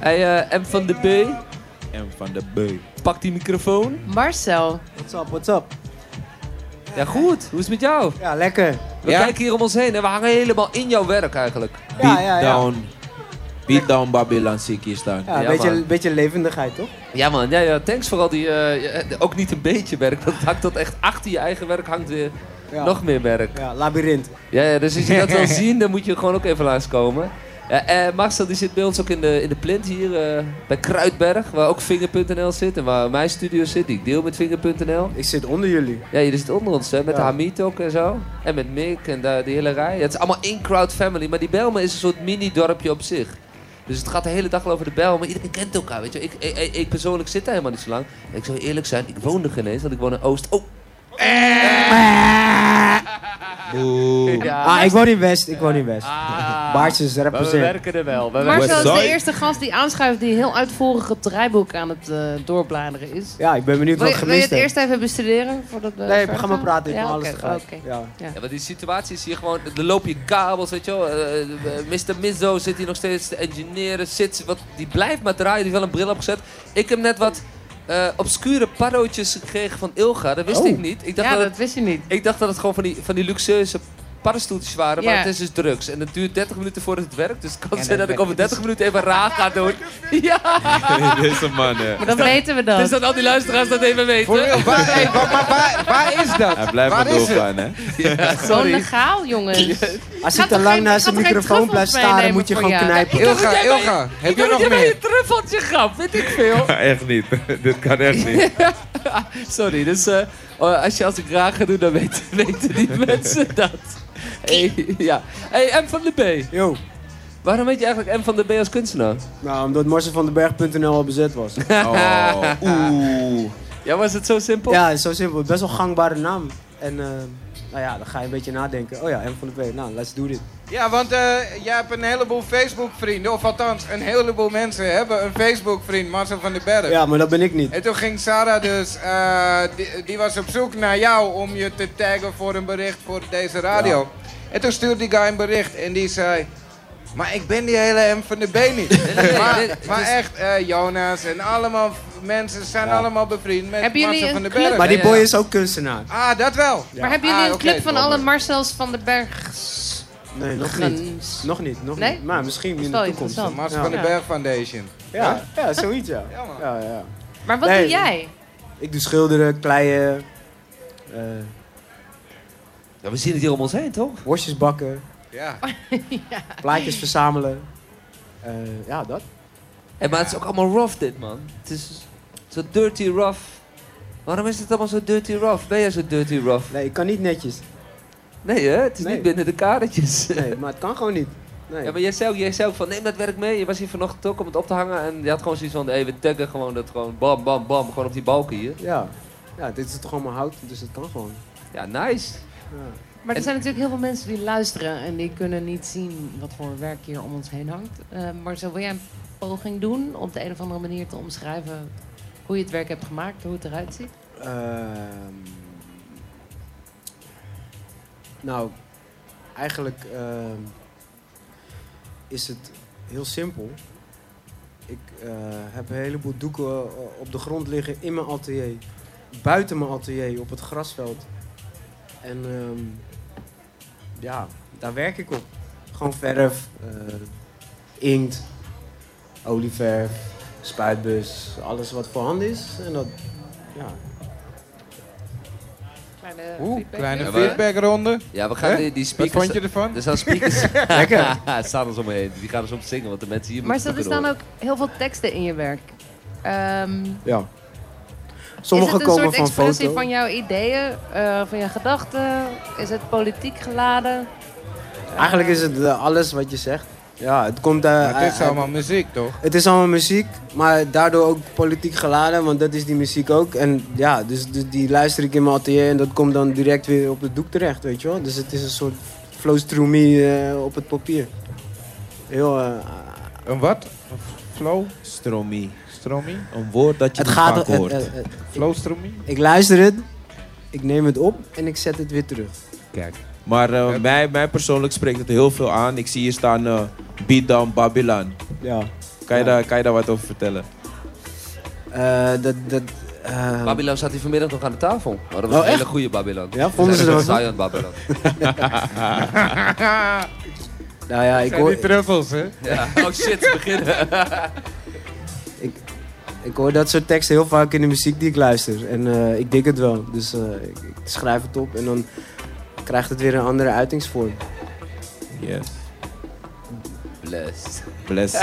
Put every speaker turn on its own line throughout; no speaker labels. Hey, eh, M van de B,
En van de beu.
pak die microfoon.
Marcel.
What's up, what's up?
Ja, goed. Hoe is het met jou?
Ja, lekker.
We
Ja?
kijken hier om ons heen en we hangen helemaal in jouw werk eigenlijk.
Ja,
Beat
ja, ja.
down. Beat down Babylon Siki staan.
Ja, een
Ja,
beetje,
man.
beetje levendigheid, toch?
Ja man, ja, ja, thanks voor al die, eh, eh, ook niet een beetje werk. Dat hangt tot echt achter je eigen werk hangt weer
Ja.
nog meer werk.
Ja, labyrinth.
Ja, ja, dus als je dat wil zien, dan moet je gewoon ook even langskomen. Ja, eh, Marcel die zit bij ons ook in de, in de plant hier eh, bij Kruidberg, waar ook Vinger.nl zit en waar mijn studio zit, die ik deel met Vinger.nl.
Ik zit onder jullie.
Ja, jullie zitten onder ons, hè? Met
Ja.
Hamid ook en zo. En met Mick en daar die hele rij. Ja, het is allemaal in crowd family, maar die Belmen is een soort mini-dorpje op zich. Dus het gaat de hele dag al over de Belmen. Iedereen kent elkaar, weet je. Ik, ik, ik- ik persoonlijk zit daar helemaal niet zo lang. Ik zou eerlijk zijn, ik woon er geen eens, want ik woon in Oost. Oh,
Ah, ik woon in West, ik woon in West.
Ah.
Baartjes
Maar we
represent.
werken er wel. We werken-
Marcel is
Westside.
de eerste gast die aanschuift die heel uitvoerig het draaiboek aan het eh, doorbladeren is.
Ja, ik ben benieuwd
Wil
wat ik
je, wil je
gemist
het
heb.
eerst even bestuderen? Voordat we
Nee,
verder
we gaan maar
gaan?
praten, ik
Ja,
kan alles
oké,
te gelijk.
oké.
Ja.
Ja, want die situatie is hier gewoon, er lopen je kabels, weet je wel. Eh, eh, Mr. Mizzo zit hier nog steeds te engineeren, zit, wat, die blijft maar draaien, die heeft wel een bril opgezet. Ik heb net wat eh, obscure parrootjes gekregen van Ilga, dat wist
Oh.
ik niet. Ik dacht,
Ja,
dat
dat wist je niet.
het, ik dacht dat het gewoon van die, van die luxueuze paddenstoeltjes waren, maar
Ja.
het is dus drugs. En het duurt 30 minuten voordat het werkt, dus het kan
Ja,
zijn
dat
dat ik over
werkt
30 minuten even raar ga doen. Ja,
Deze man, hè.
Maar dat weten we dan.
dus dat al die luisteraars dat even
Voor
weten.
real, waar, hey, waar, waar, waar, waar is dat?
Hij blijft
waar
maar
is het?
doorgaan, hè.
Ja,
Gewoon
sorry.
legaal, jongens.
Als je
Gaat
te
er
lang
geen-
naast
gaat er
zijn
geen
microfoon
truffels
blijft staren,
meenemen
moet je
voor
gewoon
jou?
knijpen.
jij
Ilga,
bij-
Ilga, heb
Ik
je
dacht dat
nog
jij bij
meer?
je truffeltje grap, weet ik veel.
Echt niet. Dit kan echt niet.
Sorry, dus eh, oh, als je als ik raar ga doen, dan weten, weten die mensen dat. Hey, ja. Hey, M van de B.
Yo.
Waarom weet je eigenlijk M van de B als kunstenaar?
Nou, omdat marcelvandenberg.nl al bezet was.
Oh, oeh.
Ja, was het zo simpel?
Ja, zo simpel. Best wel gangbare naam. En eh, nou ja, dan ga je een beetje nadenken. Oh ja, M van de B. Nou, let's do this.
Ja, want eh, jij hebt een heleboel Facebook-vrienden, of althans, een heleboel mensen hebben een Facebook-vriend, Marcel van den Berg.
Ja, maar dat ben ik niet.
En toen ging Sarah dus, eh, die, die was op zoek naar jou om je te taggen voor een bericht voor deze radio. En toen stuurde die guy een bericht en die zei, maar ik ben die hele M van de B niet.
nee,
maar,
nee, het
maar
is-
echt, eh, Jonas en allemaal v- mensen zijn allemaal bevriend met
Hebben jullie
Marcel
een
van den
club?
Berg.
Maar die
Ja,
boy
ja.
is ook kunstenaar.
Ah, dat wel.
Ja.
Maar hebben jullie
Ah,
een
oké,
club van
donder.
alle Marcels van den Bergs?
Nee, nog niet.
Guns?
Nog niet, nog
Nee?
niet. Maar misschien
Dat
in
is
de
wel
toekomst.
interessant.
Marcel
Ja.
van den
Ja.
Berg Foundation.
Ja, ja, zoiets ja.
Ja, man.
Ja, ja.
Maar wat
Nee.
doe jij?
Ik doe schilderen, kleien, eh
Ja, we zien het hier om ons heen, toch?
worstjes bakken,
Ja.
plaatjes verzamelen. Eh, ja, dat.
Hey, maar het is ook allemaal rough, dit, man. Het is zo dirty rough. Waarom is het allemaal zo dirty rough? Ben jij zo dirty rough?
Nee, ik kan niet netjes.
Nee, hè? Het is
Nee.
niet binnen de kadertjes.
Nee, maar het kan gewoon niet. Nee.
Ja, maar jij zei, ook, jij zei ook van neem dat werk mee. Je was hier vanochtend ook om het op te hangen en je had gewoon zoiets van, hey, we taggen gewoon dat gewoon bam, bam, bam, gewoon op die balken hier.
Ja. Ja, dit is toch allemaal hout, dus het kan gewoon.
Ja, nice.
Ja.
Maar er
En-
zijn natuurlijk heel veel mensen die luisteren en die kunnen niet zien wat voor werk hier om ons heen hangt. Eh, maar zo wil jij een poging doen om op de een of andere manier te omschrijven hoe je het werk hebt gemaakt, hoe het eruit ziet?
Ehm, nou, eigenlijk ehm, is het heel simpel. Ik eh, heb een heleboel doeken eh, op de grond liggen in mijn atelier. Buiten mijn atelier, op het grasveld. En ehm, ja, daar werk ik op. Gewoon verf, eh, inkt, olieverf, spuitbus. Alles wat voorhanden is. En dat, ja,
Kleine
Oeh,
feedback.
kleine
Ja, maar-
feedbackronde.
Ja, we gaan
Hè?
die, die
Wat
speakers...
vond je ervan?
Er staan speakers...
Lekker.
er staan ons omheen. Die gaan ons om zingen, want de mensen hier
Maar dus
moeten
er
het
staan
kunnen
ook heel veel teksten in je werk. Ehm,
Ja.
is
Sommige
het een
komen
soort
van
expressie
foto.
van jouw ideeën, eh, van je gedachten? Is het politiek geladen?
Eigenlijk is het eh, alles wat je zegt. Ja, het komt eh,
Maar het is
eh,
allemaal muziek, toch?
het is allemaal muziek, maar daardoor ook politiek geladen, want dat is die muziek ook. En ja, dus, dus die luister ik in mijn atelier en dat komt dan direct weer op het doek terecht, weet je wel. Dus het is een soort flows through me eh, op het papier. Heel, eh,
Een wat? Een f- flow?
Stromie.
Stromie?
Een woord dat je
het
niet
gaat...
vaak
het-
hoort.
het- het-
Flow stromie?
ik luister het, ik neem het op en ik zet het weer terug.
Kijk. Maar eh,
Ja.
mij, mij persoonlijk spreekt het heel veel aan. Ik zie hier staan eh Beat Down Babylon.
Ja.
Kan je, daar, kan je daar wat over vertellen?
Eh, dat, dat, eh,
Babylon zat hier vanmiddag nog aan de tafel. Maar dat was
Oh,
een hele
echt?
goede Babylon.
Ja, vonden ze
Zij
er
was
wat
Zion Babylon.
nou ja, ik,
Zijn
hoor,
die truffels, hè?
Ja. Oh shit, beginnen.
ik, ik hoor dat soort teksten heel vaak in de muziek die ik luister. En eh, ik dik het wel. Dus eh, ik, ik schrijf het op en dan krijgt het weer een andere uitingsvorm.
Yes.
Blessed.
Bless.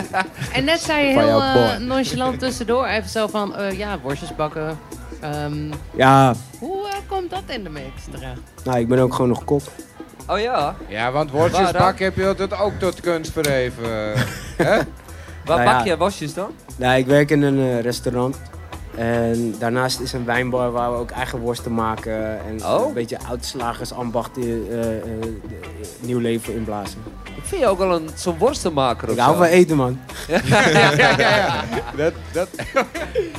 En net zei je
Van
heel
jouw
eh,
boy.
nonchalant tussendoor even zo van, eh, ja, worstjes bakken. Ehm,
Ja,
hoe eh, komt dat in de mix terecht?
nou, ik ben ook gewoon nog kop.
Oh ja?
Ja, want
Waar dan?
worstjesbak heb je dat ook tot kunst verheven. Hè?
Waar
Nou ja.
bak jij wasjes dan?
Nou, ik werk in een eh, restaurant. En daarnaast is een wijnbar waar we ook eigen worsten maken. En
Oh.
een beetje oudslagersambacht eh eh, eh, nieuw leven inblazen.
Ik vind je ook al een, zo'n worstenmaker of
Ik hou
zo.
van eten, man.
ja, ja, ja, ja. Dat, dat...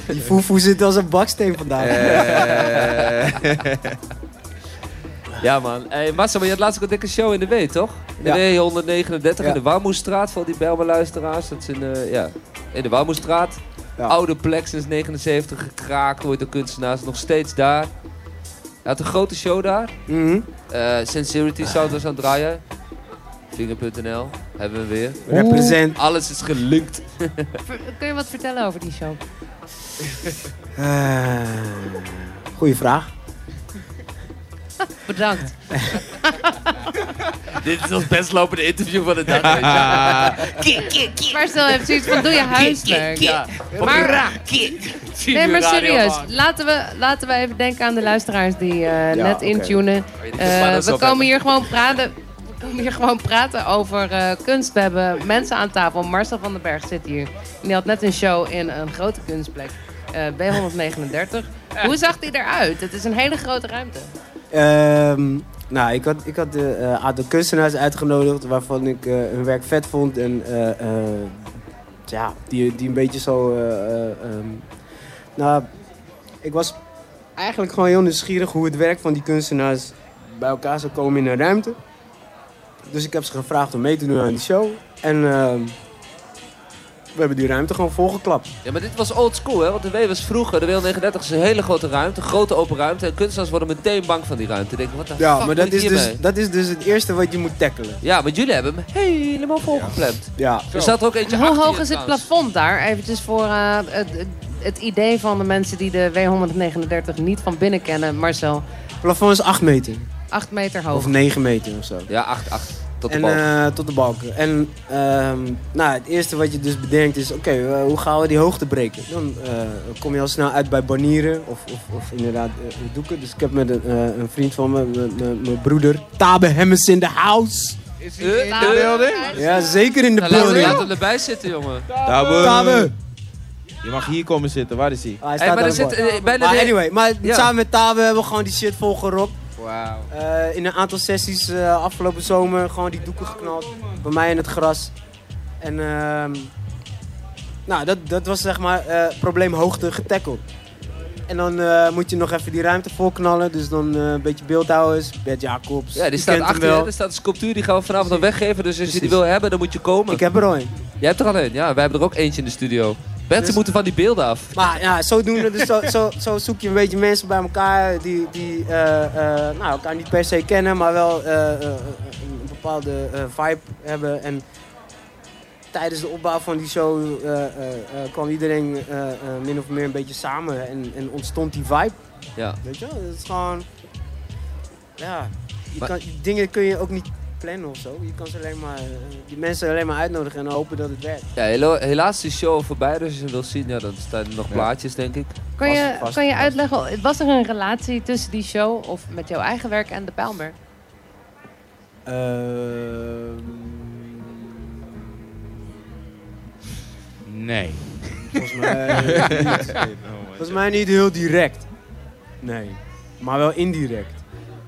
Die foefoe zit als een baksteen vandaag.
Ja man. Hey, Massa, maar je had laatst ook een dikke show in de W, toch? In de W 139 in
Ja.
de Warmoestraat voor die Belma-luisteraars. Dat is in, eh, ja, in de Warmoestraat.
Ja.
Oude plek sinds 79, gekraakt, ooit door kunstenaars. Nog steeds daar. Hij had een grote show daar.
Mhm.
Eh Sincerity Sound was aan het draaien. Vinger.nl hebben we weer.
Represent.
Alles is gelinkt.
Ver- kun je wat vertellen over die show?
Eh, goeie vraag.
Bedankt.
Dit is ons best lopende interview van de dag. weet je.
Maar stel even zoiets van, doe je huiswerk.
Ja.
Maar, nee, maar
Radio
serieus.
aan.
Laten we, laten we even denken aan de luisteraars die eh, net
oké.
intunen.
die
Eh,
pannen zo
we
hebben.
komen hier gewoon praten. We komen hier gewoon praten over eh, kunst. We hebben mensen aan tafel. Marcel van den Berg zit hier. En die had net een show in een grote kunstplek. eh, B139. Hoe zag die eruit? Het is een hele grote ruimte.
Ehm, nou, ik had, ik had eh, een aantal kunstenaars uitgenodigd waarvan ik eh, hun werk vet vond. En eh, eh, ja, die, die een beetje zo... eh, eh, ehm, nou, ik was eigenlijk gewoon heel nieuwsgierig hoe het werk van die kunstenaars bij elkaar zou komen in een ruimte. Dus ik heb ze gevraagd om mee te doen aan die show. En ehm, we hebben die ruimte gewoon volgeklapt.
Ja, maar dit was old school, hè? Want de W was vroeger, de W39 is een hele grote ruimte, een grote open ruimte. En kunstenaars worden meteen bang van die ruimte. Denken, wat de
Ja,
fuck
maar
moet
dat
ik
is, dus,
hiermee?
dat is dus het eerste wat je moet tackelen.
Ja, want jullie hebben hem helemaal volgepland.
Ja.
Er staat er ook eentje
Hoe
achter
hoog
je
is het
trouwens.
plafond daar? Eventjes voor eh, het, het idee van de mensen die de W139 niet van binnen kennen. Marcel,
Plafond is 8 meter.
8 meter
Of
Oh.
hoog.
9 meter of zo.
Ja, 8, 8. Tot de
en,
bal.
eh, tot de balken. En ehm, nou, het eerste wat je dus bedenkt is, oké, eh, hoe gaan we die hoogte breken? Dan eh, kom je al snel uit bij banieren of, of, of inderdaad eh, doeken. Dus ik heb met een, eh, een vriend van me, mijn- mijn- mijn broeder, Tabe Hemmers in de house.
Is hij in de
Eh,
building?
Ja, zeker in de
nou, laten we
building.
laten erbij zitten, jongen.
Tabu.
Tabe!
Je mag hier komen zitten. Waar is hij?
Ah, hij
Hey,
staat
maar
aan
er
de
zit
bar.
eh, bijna
Maar
de-
anyway, maar
Ja.
samen met Tabe hebben we gewoon die shit volgeropt.
Wauw.
Eh, in een aantal sessies eh, afgelopen zomer gewoon die doeken geknald. Bij mij in het gras. En ehm nou, dat, dat was zeg maar eh probleem hoogte getackled. En dan eh, moet je nog even die ruimte volknallen. Dus dan eh, een beetje beeldhouwers, Bert Jacobs.
Ja,
je
die staat
kent hem
achter je. Er staat een sculptuur, die gaan we vanavond dan weggeven. Dus als je die wil hebben, dan moet je komen.
Ik heb er al een.
Jij hebt er al een. Ja, wij hebben er ook eentje in de studio. Mensen
Dus-
moeten van die beelden af.
Maar ja, zodoende, dus zo, zo, zo zoek je een beetje mensen bij elkaar die, die eh, eh, nou, elkaar niet per se kennen, maar wel eh, eh, een bepaalde eh, vibe hebben. En tijdens de opbouw van die show eh, eh, eh, kwam iedereen eh, eh, min of meer een beetje samen en, en ontstond die vibe.
Ja.
Weet je, wel? het is gewoon. Ja, je
Maar-
kan, dingen kun je ook niet plannen of zo. Je kan ze alleen maar, eh, die mensen alleen maar uitnodigen en hopen dat het werkt.
Ja, helo- helaas is de show voorbij, dus als je hem wilt zien, ja, dan staan er nog plaatjes, denk ik.
Kan je,
Vast, vast,
kan je
vast.
uitleggen, was er een relatie tussen die show of met jouw eigen werk en de Bijlmer?
Ehm,
Nee.
Volgens mij. Volgens mij niet heel direct. Nee. Maar wel indirect.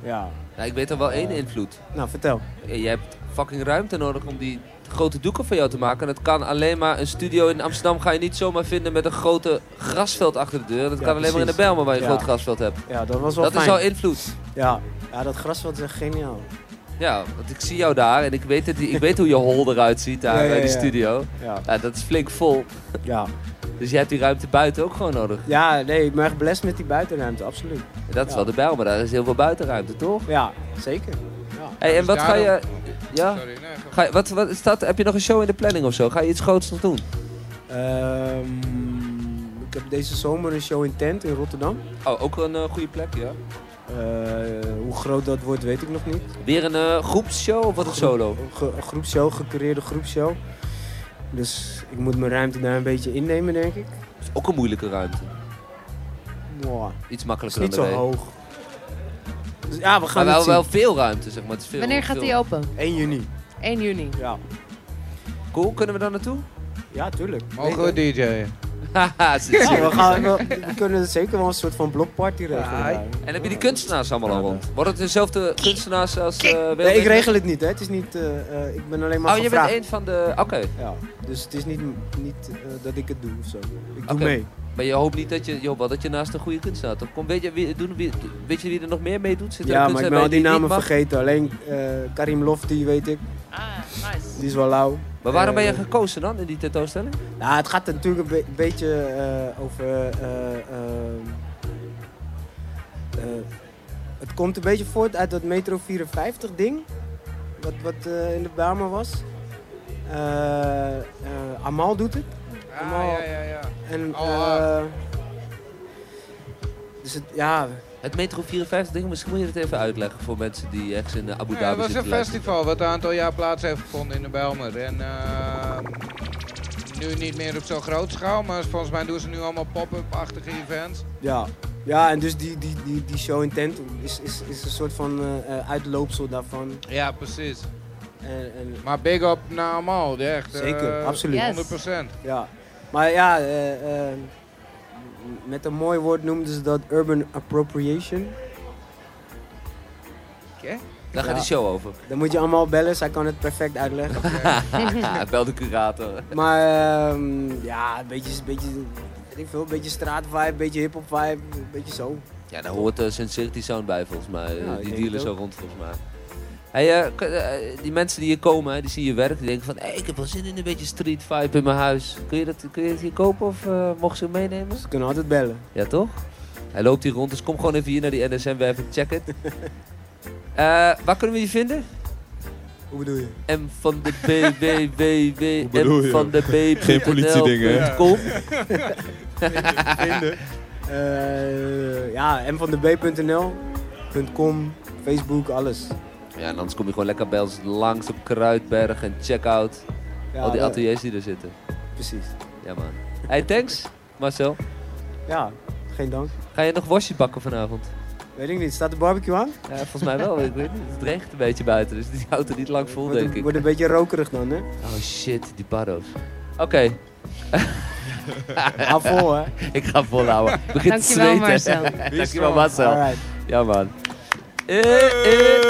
Ja.
Ja, ik weet er wel één invloed.
Nou, vertel.
Ja, Je Eh, hebt fucking ruimte nodig om die grote doeken van jou te maken. En dat kan alleen maar een studio in Amsterdam ga je niet zomaar vinden met een grote grasveld achter de deur. Dat
Ja,
kan alleen maar in de
precies.
Bijlmer waar je een
Ja.
groot grasveld hebt.
Ja, dat was wel
Dat
fijn.
is al invloed.
Ja. ja, dat grasveld is echt geniaal.
Ja, want ik zie jou daar en ik weet, het, ik weet hoe je hol eruit ziet daar
Ja, ja,
bij de
ja.
studio.
Ja.
Ja, dat is flink vol.
Ja.
Dus je hebt die ruimte buiten ook gewoon nodig.
ja, nee, ik ben echt belest met die buitenruimte, absoluut.
En dat is
Ja.
wel de bel, maar daar is heel veel buitenruimte, toch?
Ja, zeker. Ja.
Hey, en
dus
wat ga je...
daarom-
Ja?
Sorry, nee, ga-
Ga je, wat, wat is dat? Heb je nog een show in de planning of zo? Ga je iets groots nog doen?
Ehm, ik heb deze zomer een show in Tent in Rotterdam.
Oh, ook een eh, goede plek, ja.
Eh, hoe groot dat wordt, weet ik nog niet.
Weer een eh, groepsshow of wat een solo?
Een ge- een groepshow, gecureerde groepshow. Dus ik moet mijn ruimte daar een beetje innemen, denk ik.
Is ook een moeilijke ruimte.
Mwah,
Iets
is
makkelijker
niet
dan
zo
de W.
hoog. Dus ja, we gaan
Maar wel,
het
wel
zien.
veel ruimte, zeg maar. Het is veel,
Wanneer gaat
veel.
die open?
1 juni.
1 juni.
Ja,
Cool, kunnen we daar naartoe?
ja tuurlijk.
Mogen we DJ'en?
Haha, ze is-
Ja, we, gaan, we, we kunnen zeker wel een soort van blokparty regelen. daar.
En heb je die kunstenaars allemaal al rond? Worden het dezelfde kunstenaars als eh
Nee, ik
Wildeburg?
regel het niet, hè. Het is niet... eh, eh, ik ben alleen maar
Oh, je bent
gevraagd.
een van de... Oké,
Ja, dus het is niet, niet eh, dat ik het doe of zo. Ik
Oké.
doe mee.
maar je hoopt niet dat je, joh, wel dat je naast een goede kunstenaar toch komt. Weet je, wie, doen, wie, weet je wie er nog meer mee doet? Zit er
Ja,
een
maar ik
kunstenaar
ben al
bij
die namen
niet mag?
vergeten. Alleen eh, Karim Lofti, weet ik.
Ah, nice.
Die is wel lauw.
Maar waarom ben je
Eh,
gekozen dan in die tentoonstelling?
Nou, het gaat natuurlijk een be- beetje eh, over. eh, ehm, eh, het komt een beetje voort uit dat Metro 54 ding. Wat, wat eh, in de Bama was. Eh, eh, Amal doet het.
Ah, ja, ja, ja.
En,
Oh,
eh, dus het, ja,
Het Metro 54 ding, misschien moet je het even uitleggen voor mensen die ergens in eh, Abu
Ja, het
Dhabi
was een
zitten. luisteren.
festival wat een aantal jaar plaats heeft gevonden in de Belmer. En ehm, nu niet meer op zo'n groot schaal, maar volgens mij doen ze nu allemaal pop-up-achtige events.
Ja, ja en dus die, die, die, die show in tent is, is, is een soort van eh, eh, uitloopsel daarvan.
Ja, precies.
En, en,
Maar big up naar Amal, echt. eh,
Zeker, absoluut.
Yes.
100%.
ja. Maar ja, eh, eh, m- met een mooi woord noemden ze dat urban appropriation.
Daar gaat
Ja.
die show over.
Dan moet je allemaal bellen, zij kan het perfect uitleggen.
Haha, Bel Ah, de curator.
maar ehm, ja, een beetje, een beetje, weet ik veel, een beetje straatvibe, een beetje hip-hop vibe, een beetje zo.
Ja, daar hoort eh, Sincerity Sound bij volgens mij. Eh,
ik
die
denk
dealen
het
zo
ook.
rond volgens mij. Hey, eh, k- eh, die mensen die hier komen, hè, die zien je werk, die denken van hey, ik heb wel zin in een beetje street vibe in mijn huis. Kun je dat, kun je dat hier kopen of eh mogen ze het meenemen?
Ze kunnen altijd bellen.
Ja toch? Hij loopt hier rond, dus kom gewoon even hier naar die NSM-werf en check het. Eh, waar kunnen we je vinden?
Hoe bedoel je?
M van de B, B, B, B,
bedoel
M
je?
van de B.
Geen politiedingen, hè?
Kom.
Eh, ja, mvandeb.nl.com, Facebook, alles.
Ja, en anders kom je gewoon lekker bij ons langs op Kruidberg en check-out.
Ja,
Al die
dat-
ateliers die er zitten.
Precies.
Ja man. Hey, thanks Marcel.
Ja, geen dank.
Ga je nog wasje bakken vanavond?
Weet ik niet. Staat de barbecue aan?
Ja, volgens mij wel, ik weet niet. Het regent een beetje buiten, dus die houdt er niet lang vol,
wordt,
denk
een,
ik.
wordt een beetje rokerig dan, hè?
Oh shit, die barro's. Oké,
Haal vol, hè?
ik ga volhouden. Begint te
Dankjewel
zweten.
Marcel.
Dankjewel Marcel.
Alright.
Ja man. Eh, eh.